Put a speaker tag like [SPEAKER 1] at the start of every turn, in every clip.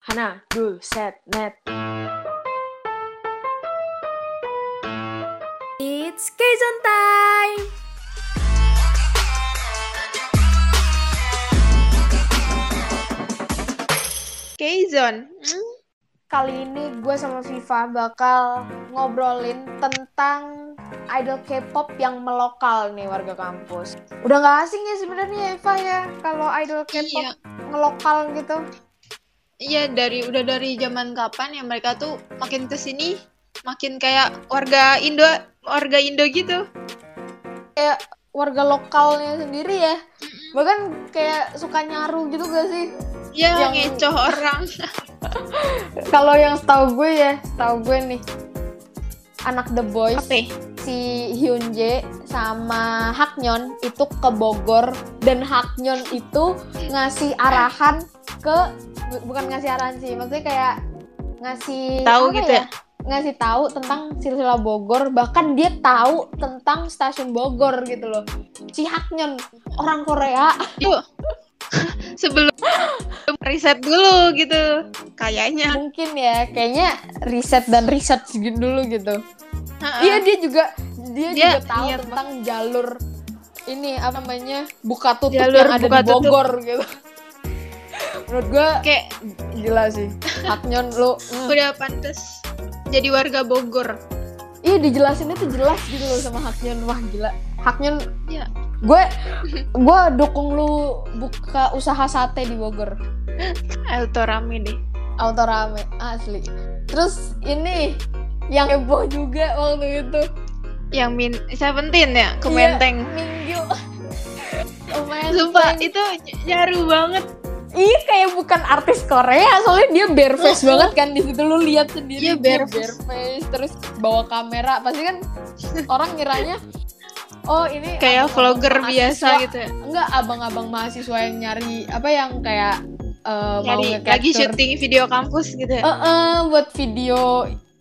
[SPEAKER 1] Hana, dul, set, net.
[SPEAKER 2] It's Kaizon time!
[SPEAKER 3] K-Zone. Mm.
[SPEAKER 1] Kali ini gue sama Viva bakal ngobrolin tentang idol K-pop yang melokal nih warga kampus. Udah nggak asing ya sebenarnya Eva ya kalau idol K-pop
[SPEAKER 3] Iya,
[SPEAKER 1] ngelokal gitu.
[SPEAKER 3] iya dari udah dari zaman kapan ya mereka tuh makin kesini makin kayak warga Indo, warga Indo gitu.
[SPEAKER 1] Kayak warga lokalnya sendiri ya. Bahkan kayak suka nyaru gitu gak sih?
[SPEAKER 3] Ya
[SPEAKER 1] Yang-
[SPEAKER 3] ngecoh orang.
[SPEAKER 1] Kalau yang setahu gue ya, setahu gue nih anak The Boys
[SPEAKER 3] Apa? ya?
[SPEAKER 1] si Hyunjae sama Haknyon itu ke Bogor dan Haknyon itu ngasih arahan ke bu- bukan ngasih arahan sih maksudnya kayak ngasih
[SPEAKER 3] Tahu
[SPEAKER 1] apa
[SPEAKER 3] gitu ya?
[SPEAKER 1] ngasih tahu tentang silsilah Bogor bahkan dia tahu tentang stasiun Bogor gitu loh si Haknyon orang Korea
[SPEAKER 3] Yuk. Sebelum riset dulu gitu. Kayaknya.
[SPEAKER 1] mungkin ya kayaknya riset dan riset segini dulu gitu
[SPEAKER 3] Ha-ha.
[SPEAKER 1] Iya dia juga dia,
[SPEAKER 3] Ah. Dia
[SPEAKER 1] juga tahu
[SPEAKER 3] iya,
[SPEAKER 1] tentang jalur ini apa namanya buka tutup
[SPEAKER 3] Jalur
[SPEAKER 1] yang ada
[SPEAKER 3] buka
[SPEAKER 1] di Bogor gitu. Menurut gue
[SPEAKER 3] Kayak
[SPEAKER 1] gila sih. Haknyon lu. mm.
[SPEAKER 3] udah pantas jadi warga Bogor.
[SPEAKER 1] Iya dijelasinnya tuh jelas gitu loh sama Haknyon wah gila. Haknyon
[SPEAKER 3] Iya.
[SPEAKER 1] gue gue dukung lu buka usaha sate di Bogor.
[SPEAKER 3] Autorami deh.
[SPEAKER 1] Auto rame asli. Terus ini yang heboh juga waktu itu
[SPEAKER 3] Yang min Seventeen ya,
[SPEAKER 1] Iya.
[SPEAKER 3] ke Menteng.
[SPEAKER 1] Minggu. Lumayan
[SPEAKER 3] Sumpah itu ny- nyaru banget.
[SPEAKER 1] Iya kayak bukan artis Korea soalnya dia bareface
[SPEAKER 3] Mm-mm.
[SPEAKER 1] banget kan di situ lu lihat sendiri
[SPEAKER 3] Iya,
[SPEAKER 1] dia
[SPEAKER 3] bareface.
[SPEAKER 1] bareface, terus bawa kamera pasti kan orang ngiranya oh ini
[SPEAKER 3] Kayak
[SPEAKER 1] abang-abang
[SPEAKER 3] vlogger biasa
[SPEAKER 1] mahasiswa."
[SPEAKER 3] gitu ya.
[SPEAKER 1] enggak abang-abang mahasiswa yang nyari apa yang kayak eh, mau
[SPEAKER 3] Nyari
[SPEAKER 1] nge-capture.
[SPEAKER 3] lagi syuting video kampus gitu ya.
[SPEAKER 1] Eh, eh, buat video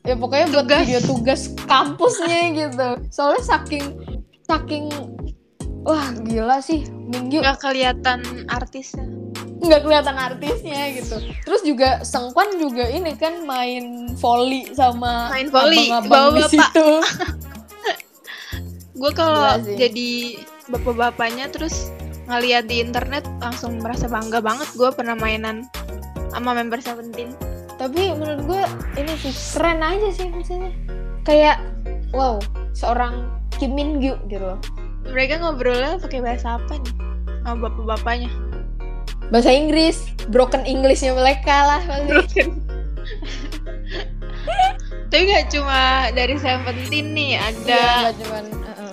[SPEAKER 1] ya pokoknya buat
[SPEAKER 3] Tugas.
[SPEAKER 1] video tugas kampusnya gitu soalnya saking saking wah gila sih minggu
[SPEAKER 3] Nggak kelihatan artisnya.
[SPEAKER 1] nggak kelihatan artisnya gitu. Terus juga Sengkwan juga ini kan main volley sama
[SPEAKER 3] Main volley,
[SPEAKER 1] abang-abang di
[SPEAKER 3] bawa bapak.
[SPEAKER 1] situ.
[SPEAKER 3] Gue kalau
[SPEAKER 1] Gila Iya sih.
[SPEAKER 3] jadi bapak-bapaknya terus ngeliat di internet langsung merasa bangga banget gue pernah mainan sama member Seventeen.
[SPEAKER 1] Tapi menurut gue ini sih keren aja sih maksudnya. Kayak wow, seorang Kim Min Gyu gitu loh.
[SPEAKER 3] Mereka ngobrolnya pakai bahasa apa nih? Sama bapak-bapaknya.
[SPEAKER 1] Bahasa Inggris, broken Englishnya mereka lah pasti.
[SPEAKER 3] Broken. Tapi gak cuma dari Seventeen nih,
[SPEAKER 1] Iya,
[SPEAKER 3] ada
[SPEAKER 1] nggak cuman uh-uh.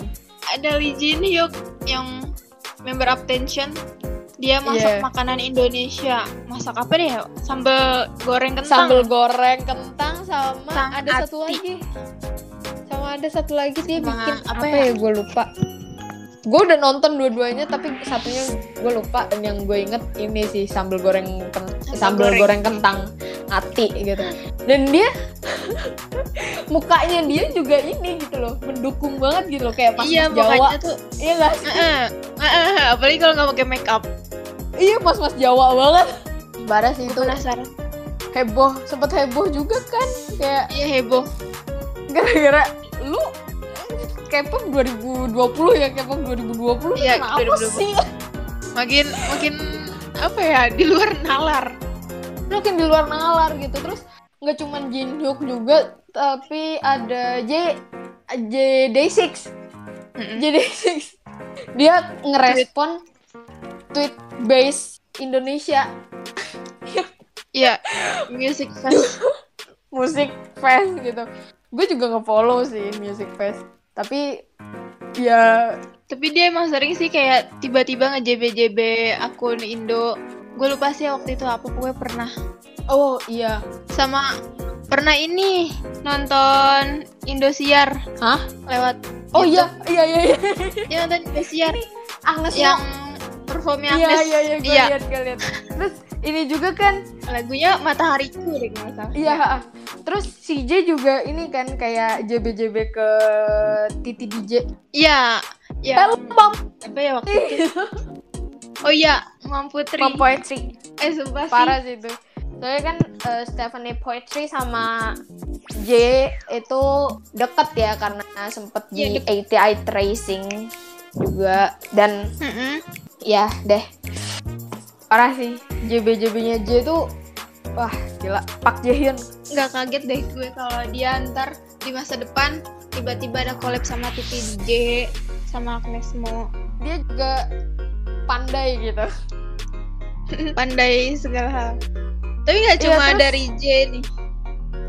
[SPEAKER 3] ada Lee Jin Hyuk yang member Attention. Dia
[SPEAKER 1] Iya.
[SPEAKER 3] masak makanan Indonesia. Masak apa deh? ya? Sambal goreng kentang.
[SPEAKER 1] sambal goreng kentang sama
[SPEAKER 3] Kentang
[SPEAKER 1] ada satu
[SPEAKER 3] ati.
[SPEAKER 1] lagi. Sama ada satu lagi dia
[SPEAKER 3] Sama
[SPEAKER 1] bikin apa,
[SPEAKER 3] apa
[SPEAKER 1] ya, gue lupa. Gue udah nonton dua-duanya tapi satunya gue lupa dan yang gue inget ini sih sambal goreng ken- sambal
[SPEAKER 3] Sambal
[SPEAKER 1] goreng.
[SPEAKER 3] goreng.
[SPEAKER 1] kentang ati gitu. Dan dia mukanya dia juga ini gitu loh, mendukung banget gitu loh kayak mas-mas
[SPEAKER 3] Iya,
[SPEAKER 1] Jawa.
[SPEAKER 3] makanya tuh
[SPEAKER 1] Iya gak sih?
[SPEAKER 3] Heeh. Heeh, apalagi kalau nggak pakai make up.
[SPEAKER 1] Iya mas-mas Jawa banget. Baras itu
[SPEAKER 3] Penasaran.
[SPEAKER 1] heboh, sempet heboh juga kan kayak
[SPEAKER 3] Iya heboh.
[SPEAKER 1] gara-gara lu K-pop 2020 ya K-pop 2020
[SPEAKER 3] Iya,
[SPEAKER 1] ya, kenapa
[SPEAKER 3] 2020.
[SPEAKER 1] sih
[SPEAKER 3] Makin makin apa ya di luar nalar.
[SPEAKER 1] makin kan di luar nalar gitu terus nggak cuman Jin Hyuk juga tapi ada J J Day6 J
[SPEAKER 3] Mm-mm.
[SPEAKER 1] Day6 dia ngerespon tweet base Indonesia
[SPEAKER 3] Iya, music fest.
[SPEAKER 1] Music Fest gitu gue juga nge-follow sih Music Fest tapi ya
[SPEAKER 3] Tapi dia emang sering sih kayak tiba-tiba nge-JB-JB akun Indo. Gue lupa sih waktu itu apa gue pernah
[SPEAKER 1] oh iya
[SPEAKER 3] sama pernah ini nonton Indosiar.
[SPEAKER 1] Hah?
[SPEAKER 3] Lewat gitu.
[SPEAKER 1] oh
[SPEAKER 3] YouTube.
[SPEAKER 1] iya iya iya, iya.
[SPEAKER 3] Dia nonton Indosiar
[SPEAKER 1] Agnes Mo.
[SPEAKER 3] yang performnya
[SPEAKER 1] Iya
[SPEAKER 3] Agnes.
[SPEAKER 1] iya iya gue
[SPEAKER 3] Iya,
[SPEAKER 1] lihat gue lihat. Terus ini juga kan
[SPEAKER 3] lagunya Matahariku deh kalau nggak salah.
[SPEAKER 1] iya ha-ha. terus si J juga ini kan kayak JBJB ke Titi DJ.
[SPEAKER 3] Iya, iya.
[SPEAKER 1] Hello Mam
[SPEAKER 3] apa ya waktu itu? Oh iya, Mam Putri.
[SPEAKER 1] Mam Poetry.
[SPEAKER 3] Eh sumpah sih.
[SPEAKER 1] Parah sih itu. Soalnya kan eh, Stephanie Poetry sama J itu deket ya karena sempet di
[SPEAKER 3] Iya,
[SPEAKER 1] ATI Tracing juga dan
[SPEAKER 3] Mm-mm.
[SPEAKER 1] ya deh parah sih JB nya J itu wah gila Pak Jaehyun
[SPEAKER 3] nggak kaget deh gue kalau dia ntar di masa depan tiba-tiba ada collab sama Titi DJ sama Agnes Mo
[SPEAKER 1] dia juga pandai gitu
[SPEAKER 3] Mm, pandai segala hal tapi nggak
[SPEAKER 1] Iya,
[SPEAKER 3] cuma
[SPEAKER 1] terus-
[SPEAKER 3] dari J nih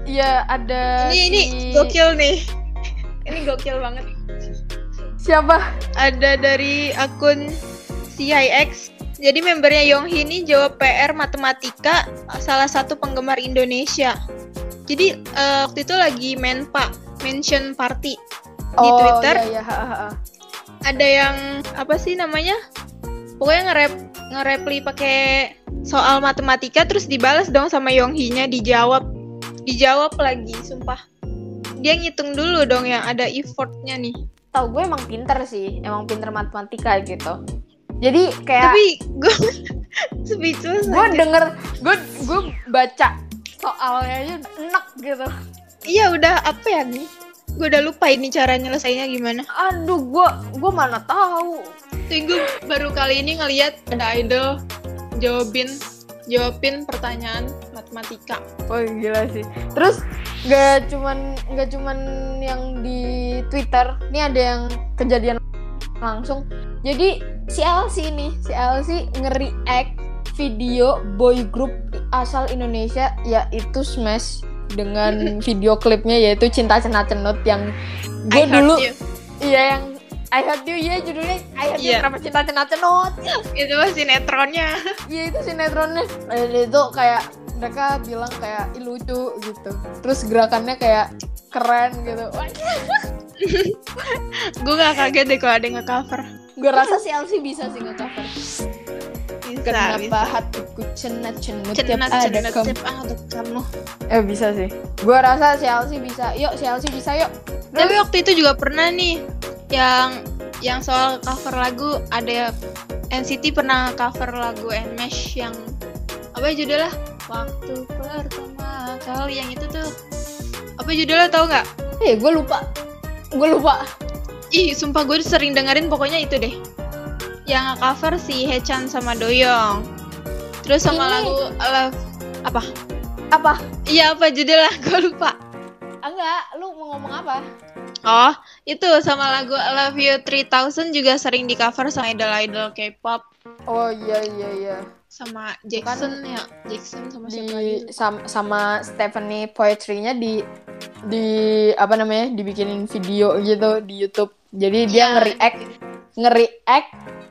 [SPEAKER 1] Iya ada
[SPEAKER 3] ini ini
[SPEAKER 1] si-
[SPEAKER 3] gokil nih ini gokil banget
[SPEAKER 1] siapa
[SPEAKER 3] ada dari akun CIX jadi membernya Yonghi ini jawab PR matematika salah satu penggemar Indonesia jadi eh, waktu itu lagi menpa mention party di Twitter
[SPEAKER 1] iya, iya, ha, ha, ha.
[SPEAKER 3] ada yang apa sih namanya pokoknya nge-rap nge-reply pakai soal matematika terus dibalas dong sama Yonghinya dijawab dijawab lagi sumpah dia ngitung dulu dong yang ada effortnya nih
[SPEAKER 1] Tahu gue emang pinter sih, emang pinter matematika gitu. Jadi kayak
[SPEAKER 3] tapi gue speechless
[SPEAKER 1] gue
[SPEAKER 3] aja.
[SPEAKER 1] denger, gue gue baca soalnya aja enak gitu.
[SPEAKER 3] iya udah apa ya nih gue udah lupa ini cara nyelesainnya gimana
[SPEAKER 1] Aduh, gue gue mana tahu.
[SPEAKER 3] Tapi gue baru kali ini ngelihat ada idol jawabin jawabin pertanyaan matematika
[SPEAKER 1] Wah gila sih. Terus gak cuman gak cuman yang di Twitter, ini ada yang kejadian langsung. Jadi si LC ini, si LC nge-react video boy group asal Indonesia yaitu Smash dengan video klipnya yaitu Cinta Cena Cenut yang gue
[SPEAKER 3] I heard
[SPEAKER 1] dulu
[SPEAKER 3] you.
[SPEAKER 1] iya yang I Heart You ya judulnya I Heart You
[SPEAKER 3] Iya.
[SPEAKER 1] kenapa Cinta Cena Cenut
[SPEAKER 3] itu mah sinetronnya
[SPEAKER 1] Iya itu sinetronnya Eh, itu kayak mereka bilang kayak "Ih, lucu gitu terus gerakannya kayak keren gitu Wah,
[SPEAKER 3] gue gak kaget deh kalau ada yang nge-cover
[SPEAKER 1] gue rasa si Elsie bisa sih nge-cover
[SPEAKER 3] bisa
[SPEAKER 1] kenapa hatiku cenat cenut
[SPEAKER 3] bisa.
[SPEAKER 1] tiap
[SPEAKER 3] cenat
[SPEAKER 1] ada
[SPEAKER 3] cenat
[SPEAKER 1] kamu
[SPEAKER 3] tiap ada kamu
[SPEAKER 1] eh bisa sih gue rasa si Elsie bisa yuk si Elsie bisa yuk
[SPEAKER 3] tapi waktu itu juga pernah nih yang yang soal cover lagu ada NCT pernah cover lagu Nmesh yang apa ya judulnya waktu pertama kali yang itu tuh apa judulnya tau nggak
[SPEAKER 1] eh gue lupa gue lupa
[SPEAKER 3] ih sumpah gue sering dengerin pokoknya itu deh yang cover si Hechan sama Doyong terus sama
[SPEAKER 1] Ini.
[SPEAKER 3] lagu Love apa
[SPEAKER 1] apa
[SPEAKER 3] iya apa judulnya gue lupa
[SPEAKER 1] Ah, enggak lu mau ngomong apa
[SPEAKER 3] Oh, itu sama lagu I Love You 3000 juga sering di cover sama idol-idol K-pop
[SPEAKER 1] oh iya iya iya
[SPEAKER 3] sama Jackson ya, Jackson sama siapa
[SPEAKER 1] di
[SPEAKER 3] lagi?
[SPEAKER 1] sama, sama Stephanie poetry-nya di di apa namanya dibikinin video gitu di YouTube. Jadi dia
[SPEAKER 3] Iya.
[SPEAKER 1] nge-react nge-react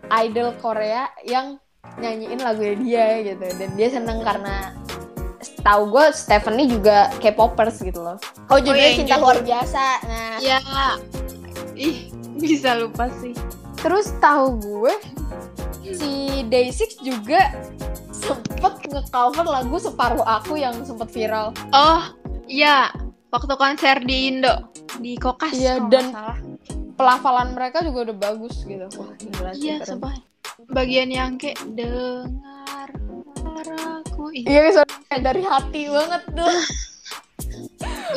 [SPEAKER 1] idol Korea yang nyanyiin lagunya dia gitu dan dia seneng karena tahu gue Stephanie juga K-popers gitu loh. Oh judulnya
[SPEAKER 3] iya, yang
[SPEAKER 1] cinta
[SPEAKER 3] judul.
[SPEAKER 1] luar biasa. Nah
[SPEAKER 3] Ya. Ih, bisa lupa sih.
[SPEAKER 1] terus tahu gue si Day6 juga sempet nge-cover lagu separuh aku yang sempet viral.
[SPEAKER 3] Oh, iya. Waktu konser di Indo di Kokas
[SPEAKER 1] Iya,
[SPEAKER 3] kalau nggak
[SPEAKER 1] dan-
[SPEAKER 3] salah.
[SPEAKER 1] pelafalan mereka juga udah bagus gitu. Wah, gila sih,
[SPEAKER 3] Iya,
[SPEAKER 1] keren.
[SPEAKER 3] sumpah. Bagian yang kayak dengar suaraku. Ih,
[SPEAKER 1] Iya, soalnya dari hati banget tuh.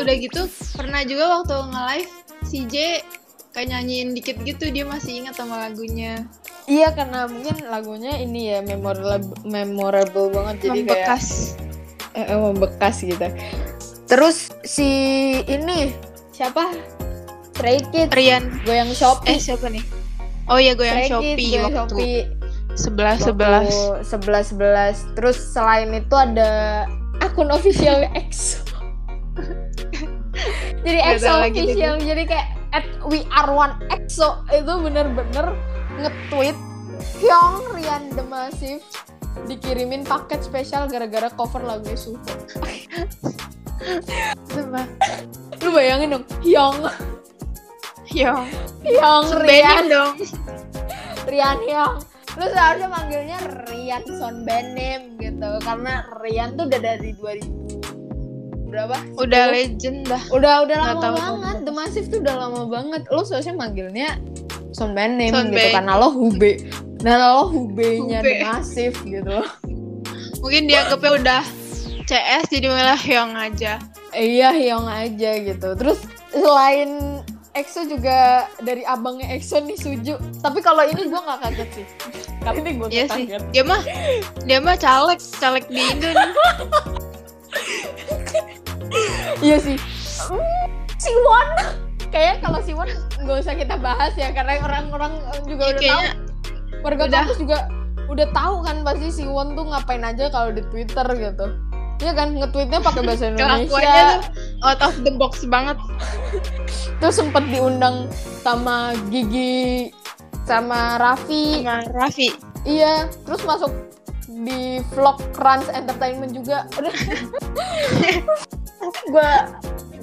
[SPEAKER 3] udah gitu pernah juga waktu nge-live si J kayak nyanyiin dikit gitu dia masih ingat sama lagunya.
[SPEAKER 1] iya, karena mungkin lagunya ini ya memorable, memorable banget jadi kayak
[SPEAKER 3] Membekas.
[SPEAKER 1] eh, eh, membekas gitu. Terus si ini siapa? Stray Kids,
[SPEAKER 3] Rian
[SPEAKER 1] goyang
[SPEAKER 3] Eh
[SPEAKER 1] Shopee.
[SPEAKER 3] siapa nih? Oh iya gue yang
[SPEAKER 1] Stray
[SPEAKER 3] Shopee
[SPEAKER 1] Kids, goyang
[SPEAKER 3] waktu
[SPEAKER 1] Shopee.
[SPEAKER 3] sebelas Ah, sebelas.
[SPEAKER 1] Waktu 11 11 terus selain itu ada akun official EXO jadi
[SPEAKER 3] Nggak
[SPEAKER 1] EXO
[SPEAKER 3] tahu lagi deh
[SPEAKER 1] official jadi kayak at we are one EXO itu bener-bener nge-tweet Hyung Rian The Massive dikirimin paket spesial gara-gara cover lagu Suho lu bayangin dong Hyung
[SPEAKER 3] Yo,
[SPEAKER 1] Hyung Rian
[SPEAKER 3] sebenin dong.
[SPEAKER 1] Rian Hyung lu seharusnya manggilnya Rian Sonbenim gitu karena Rian tuh udah dari 2000 berapa
[SPEAKER 3] Udah legend dah.
[SPEAKER 1] udah udah
[SPEAKER 3] Nggak
[SPEAKER 1] lama
[SPEAKER 3] tahu tuh.
[SPEAKER 1] banget The Massive tuh udah lama banget lu seharusnya manggilnya Sonbenim
[SPEAKER 3] Son
[SPEAKER 1] gitu
[SPEAKER 3] Benim.
[SPEAKER 1] karena lo Hube nah lo Hube nya
[SPEAKER 3] Hube.
[SPEAKER 1] The Massive gitu loh
[SPEAKER 3] Mungkin dianggapnya udah CS jadi malah Hyung aja.
[SPEAKER 1] Iya, Hyung aja gitu. Terus selain EXO juga dari abangnya EXO nih Suju. Tapi kalau ini gue nggak kaget sih. Kalau ini gue
[SPEAKER 3] Iya sih. Dia mah dia mah caleg, caleg di Indo nih.
[SPEAKER 1] Iya sih. Hmm, Siwon. Kayaknya kalau Siwon nggak usah kita bahas ya karena orang-orang juga
[SPEAKER 3] Iya,
[SPEAKER 1] udah tahu.
[SPEAKER 3] kayaknya
[SPEAKER 1] Warga
[SPEAKER 3] udah.
[SPEAKER 1] kampus juga udah tahu kan pasti Siwon tuh ngapain aja kalau di Twitter gitu. Iya kan nge-tweetnya pakai bahasa
[SPEAKER 3] kelakuannya
[SPEAKER 1] Indonesia.
[SPEAKER 3] tuh out of the box banget.
[SPEAKER 1] Terus sempet diundang sama Gigi sama Raffi.
[SPEAKER 3] sama Raffi.
[SPEAKER 1] Iya, terus masuk di vlog Crunch Entertainment juga. Udah. gua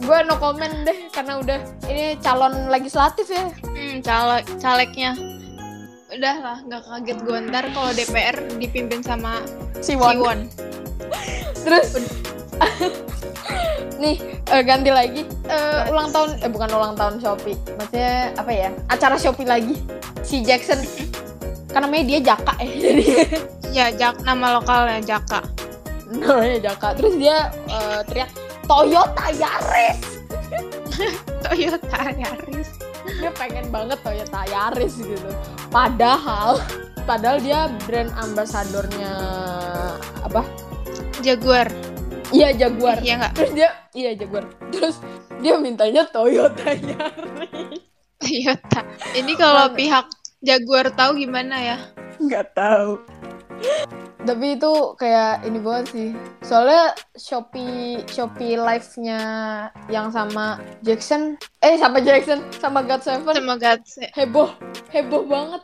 [SPEAKER 1] gua no comment deh karena udah ini calon legislatif ya.
[SPEAKER 3] Hmm, caleg calegnya. Udah lah, nggak kaget gue ntar kalau DPR dipimpin sama
[SPEAKER 1] Siwon.
[SPEAKER 3] Siwon.
[SPEAKER 1] Terus Nih, eh, ganti lagi Eh, ulang tahun eh bukan ulang tahun Shopee. Maksudnya apa ya? Acara Shopee lagi. Si Jackson karena namanya dia Jaka eh jadi
[SPEAKER 3] Ya, Jak nama lokalnya Jaka.
[SPEAKER 1] namanya Jaka. Terus dia eh, teriak Toyota Yaris.
[SPEAKER 3] Toyota Yaris.
[SPEAKER 1] dia pengen banget Toyota Yaris gitu. Padahal, padahal dia brand ambasadornya apa?
[SPEAKER 3] Jaguar.
[SPEAKER 1] Iya Jaguar.
[SPEAKER 3] Iya nggak?
[SPEAKER 1] Terus dia, iya Jaguar. Terus dia mintanya Toyota Yaris.
[SPEAKER 3] Toyota. Iya, Ini kalau
[SPEAKER 1] Mana?
[SPEAKER 3] pihak Jaguar tahu gimana ya?
[SPEAKER 1] Nggak tahu. Tapi itu kayak ini banget sih. Soalnya Shopee Shopee live-nya yang sama Jackson, eh sama Jackson, sama God Seven
[SPEAKER 3] Sama God.
[SPEAKER 1] heboh, heboh banget.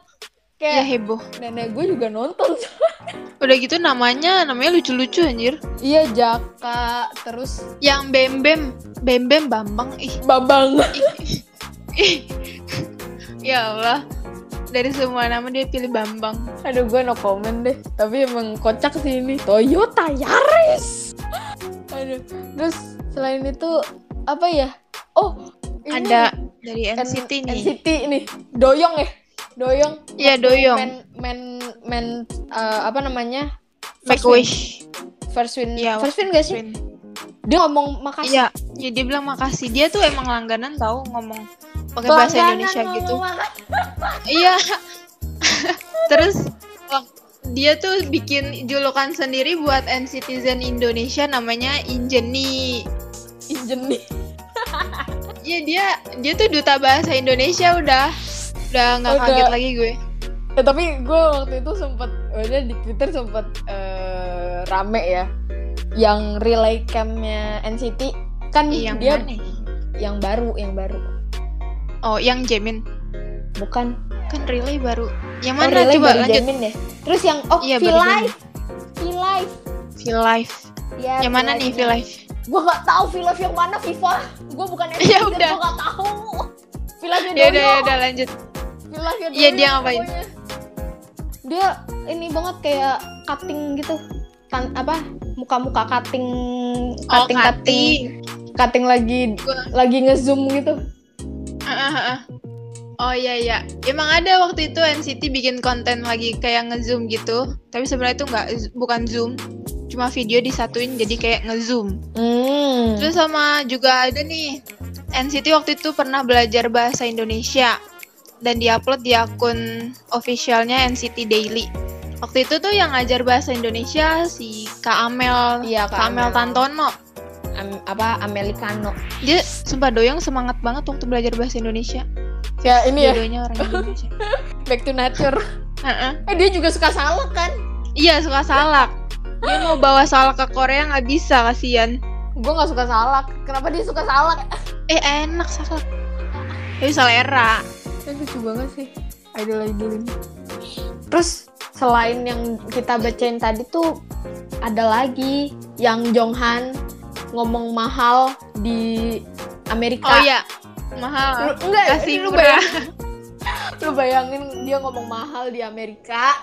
[SPEAKER 3] Ya
[SPEAKER 1] Kayak
[SPEAKER 3] heboh.
[SPEAKER 1] nenek gue juga nonton
[SPEAKER 3] Udah gitu namanya namanya lucu-lucu anjir.
[SPEAKER 1] Iya Jaka terus
[SPEAKER 3] Yang Bem Bem, Bem Bem Bambang ih.
[SPEAKER 1] Babang.
[SPEAKER 3] ih. ya Allah. Dari semua nama dia pilih Bambang.
[SPEAKER 1] Aduh gue no comment deh. Tapi emang kocak sih ini. Toyota Yaris. Aduh. Terus selain itu apa ya? Oh ini
[SPEAKER 3] Ada dari
[SPEAKER 1] N-
[SPEAKER 3] NCT nih.
[SPEAKER 1] NCT nih. Doyong ya. Doyong.
[SPEAKER 3] Iya, Doyong.
[SPEAKER 1] Men men men eh, apa namanya? First
[SPEAKER 3] Make
[SPEAKER 1] Win.
[SPEAKER 3] wish.
[SPEAKER 1] First win.
[SPEAKER 3] Iya,
[SPEAKER 1] first win gak sih?
[SPEAKER 3] Win.
[SPEAKER 1] Dia ngomong makasih.
[SPEAKER 3] Iya, ya dia bilang makasih. Dia tuh emang langganan tahu ngomong pakai bahasa
[SPEAKER 1] Pelangganan
[SPEAKER 3] Indonesia
[SPEAKER 1] ngomong
[SPEAKER 3] gitu.
[SPEAKER 1] makasih.
[SPEAKER 3] Iya. Terus wak- dia tuh bikin julukan sendiri buat NCTzen Indonesia namanya Injeni.
[SPEAKER 1] Injeni.
[SPEAKER 3] Iya dia dia tuh duta bahasa Indonesia udah udah nggak
[SPEAKER 1] Udah.
[SPEAKER 3] kaget lagi gue.
[SPEAKER 1] Ya, tapi gue waktu itu sempet, udah di Twitter sempet eh, rame ya, yang relay camnya NCT kan
[SPEAKER 3] Yang
[SPEAKER 1] dia
[SPEAKER 3] mana? ya?
[SPEAKER 1] yang baru, yang baru,
[SPEAKER 3] Oh, yang Jamin.
[SPEAKER 1] bukan?
[SPEAKER 3] Kan relay baru. Yang
[SPEAKER 1] Oh,
[SPEAKER 3] mana
[SPEAKER 1] relay
[SPEAKER 3] coba
[SPEAKER 1] baru
[SPEAKER 3] lanjut?
[SPEAKER 1] Jamin ya. Terus yang oh
[SPEAKER 3] Iya,
[SPEAKER 1] V
[SPEAKER 3] baru
[SPEAKER 1] Live, V Live,
[SPEAKER 3] Feel Life.
[SPEAKER 1] ya.
[SPEAKER 3] Yang mana nih Feel Life?
[SPEAKER 1] Gue nggak tahu V Live yang mana Viva. Gue bukan NCT,
[SPEAKER 3] Ya
[SPEAKER 1] gue
[SPEAKER 3] udah.
[SPEAKER 1] nggak tahu. V Live yang
[SPEAKER 3] Ya udah ya
[SPEAKER 1] Doyo.
[SPEAKER 3] udah lanjut.
[SPEAKER 1] Gila ya
[SPEAKER 3] Iya,
[SPEAKER 1] dulu
[SPEAKER 3] dia ngapain?
[SPEAKER 1] pokoknya. Dia ini banget kayak cutting gitu. Kan apa? Muka-muka cutting
[SPEAKER 3] Oh,
[SPEAKER 1] cutting, cutting
[SPEAKER 3] cutting.
[SPEAKER 1] cutting lagi
[SPEAKER 3] Gua-
[SPEAKER 1] lagi ngezoom gitu.
[SPEAKER 3] Ah, ah, ah. Oh iya iya, emang ada waktu itu NCT bikin konten lagi kayak ngezoom gitu, tapi sebenarnya itu nggak z- bukan zoom, cuma video disatuin jadi kayak ngezoom.
[SPEAKER 1] Hmm.
[SPEAKER 3] Terus sama juga ada nih NCT waktu itu pernah belajar bahasa Indonesia dan diupload di akun officialnya NCT Daily. Waktu itu tuh yang ngajar bahasa Indonesia si Kak Amel,
[SPEAKER 1] Iya, Kak
[SPEAKER 3] Kak Amel
[SPEAKER 1] Amel.
[SPEAKER 3] Tantono.
[SPEAKER 1] Am- apa Americano.
[SPEAKER 3] Dia sumpah doyong semangat banget waktu belajar bahasa Indonesia.
[SPEAKER 1] Ya ini ya
[SPEAKER 3] Jodohnya orang Indonesia.
[SPEAKER 1] back to nature.
[SPEAKER 3] Heeh.
[SPEAKER 1] Eh dia juga suka salah kan?
[SPEAKER 3] Iya suka salak. Dia mau bawa salak ke Korea nggak bisa kasihan.
[SPEAKER 1] Gue nggak suka salak. Kenapa dia suka salak?
[SPEAKER 3] Eh enak salak. Tapi selera.
[SPEAKER 1] Eh, lucu banget sih Idol Idolin terus selain yang kita bacain tadi tuh ada lagi yang Jonghan ngomong mahal di Amerika
[SPEAKER 3] Oh iya
[SPEAKER 1] Lu,
[SPEAKER 3] mahal.
[SPEAKER 1] enggak
[SPEAKER 3] Kasih
[SPEAKER 1] lu
[SPEAKER 3] murah.
[SPEAKER 1] bayangin lu bayangin dia ngomong mahal di Amerika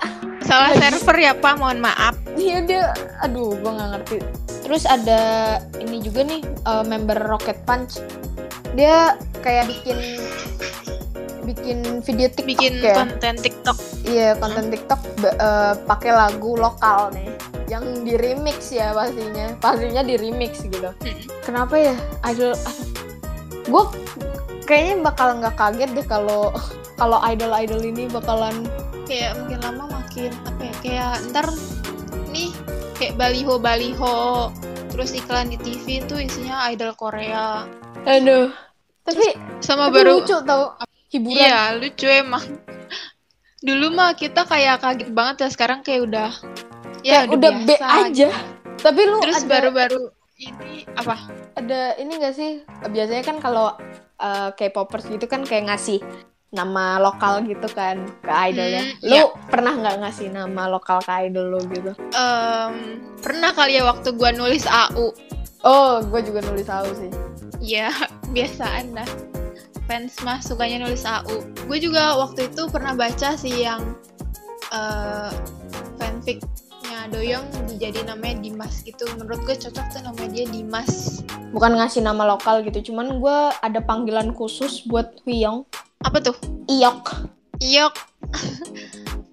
[SPEAKER 3] Salah server ya pak. Mohon maaf.
[SPEAKER 1] Iya dia, aduh gue nggak ngerti. Terus ada ini juga nih uh, member Rocket Punch. Dia kayak bikin bikin video TikTok
[SPEAKER 3] Bikin
[SPEAKER 1] ya.
[SPEAKER 3] konten TikTok.
[SPEAKER 1] Iya konten TikTok ba- eh, pakai lagu lokal nih. yang di remix ya pastinya pastinya di remix gitu
[SPEAKER 3] Mm-mm.
[SPEAKER 1] kenapa ya idol gue kayaknya bakal nggak kaget deh kalau kalau idol idol ini bakalan
[SPEAKER 3] kayak makin lama makin apa ya kayak ntar nih kayak baliho baliho terus iklan di TV tuh isinya idol Korea
[SPEAKER 1] aduh tapi, tapi
[SPEAKER 3] sama baru
[SPEAKER 1] lucu tau hiburan
[SPEAKER 3] iya lucu emang dulu mah kita kayak kaget banget ya sekarang kayak udah ya
[SPEAKER 1] Kayak udah B
[SPEAKER 3] biasa
[SPEAKER 1] aja tapi lu
[SPEAKER 3] terus
[SPEAKER 1] ada-
[SPEAKER 3] baru-baru ini apa
[SPEAKER 1] ada ini gak sih biasanya kan kalau eh, K-popers gitu kan kayak ngasih nama lokal gitu kan ke idolnya.
[SPEAKER 3] Hmm,
[SPEAKER 1] lu pernah nggak ngasih nama lokal ke idol lo gitu?
[SPEAKER 3] em, pernah kali ya waktu gua nulis AU
[SPEAKER 1] Oh, gue juga nulis tahu sih.
[SPEAKER 3] ya biasaan dah fans mah sukanya nulis AU gue juga waktu itu pernah baca sih yang eh, fanficnya Doyong dijadiin namanya Dimas gitu menurut gue cocok tuh namanya dia Dimas
[SPEAKER 1] Bukan ngasih nama lokal gitu, cuman gue ada panggilan khusus buat Hyung.
[SPEAKER 3] apa tuh
[SPEAKER 1] Iyok.
[SPEAKER 3] Iyok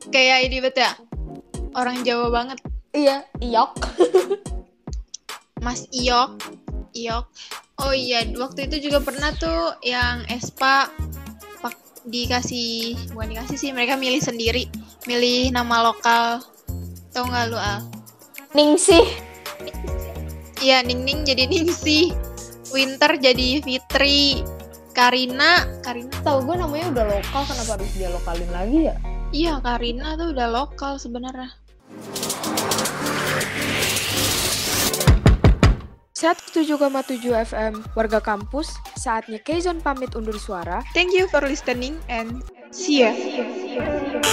[SPEAKER 3] kayak ini bet ya orang Jawa banget
[SPEAKER 1] Iya, Iyok.
[SPEAKER 3] Mas Iyok Iyok oh iya waktu itu juga pernah tuh yang Espa pak- dikasih bukan dikasih sih mereka milih sendiri milih nama lokal tau nggak lu Al
[SPEAKER 1] Ningsih.
[SPEAKER 3] iya Ningning jadi Ningsih Winter jadi Fitri Karina Karina
[SPEAKER 1] Tahu gue namanya udah lokal, kenapa harus dia lokalin lagi ya?
[SPEAKER 3] Iya, Karina tuh udah lokal sebenarnya. Thank you for listening and see ya.